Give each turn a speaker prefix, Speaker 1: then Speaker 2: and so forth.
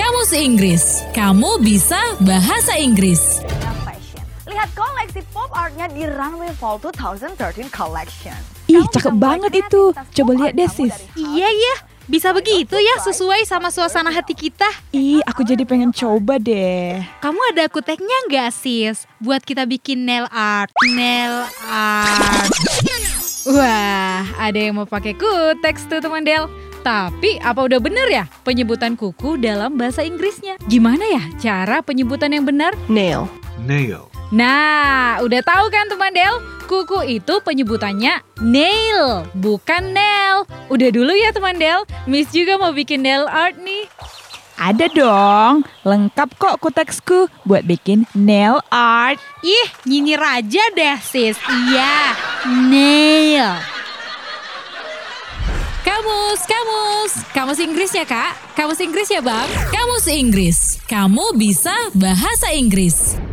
Speaker 1: Kamus Inggris. Kamu bisa bahasa Inggris.
Speaker 2: dunia fashion. Lihat koleksi pop artnya di Runway Fall 2013 collection.
Speaker 3: Ih,
Speaker 2: Kamu bisa
Speaker 3: cakep
Speaker 2: mulai
Speaker 3: banget
Speaker 2: kreativitas
Speaker 3: itu.
Speaker 2: pop
Speaker 3: Coba
Speaker 2: art
Speaker 3: lihat deh,
Speaker 2: kamu
Speaker 3: sis.
Speaker 2: dari hal
Speaker 4: Iya ya, bisa begitu ya sesuai sama suasana hati kita.
Speaker 3: Ih, aku jadi pengen coba deh.
Speaker 4: Kamu ada kuteknya nggak sis? Buat kita bikin nail art. Nail art.
Speaker 1: Wah, ada yang mau pakai kuteks tuh teman Del. Tapi apa udah bener ya penyebutan kuku dalam bahasa Inggrisnya? Gimana ya cara penyebutan yang benar?
Speaker 3: Nail.
Speaker 5: nail,
Speaker 1: Nah, udah tahu kan teman Del? Kuku itu penyebutannya nail, bukan nail. Udah dulu ya teman Del, Miss juga mau bikin nail art nih.
Speaker 3: Ada dong. Lengkap kok kuteksku buat bikin nail art.
Speaker 4: Ih, nyinyir aja deh sis. Iya, nail.
Speaker 1: Kamus, kamus. Kamus Inggris ya kak? Kamus Inggris ya bang? Kamus Inggris. Kamu bisa bahasa Inggris.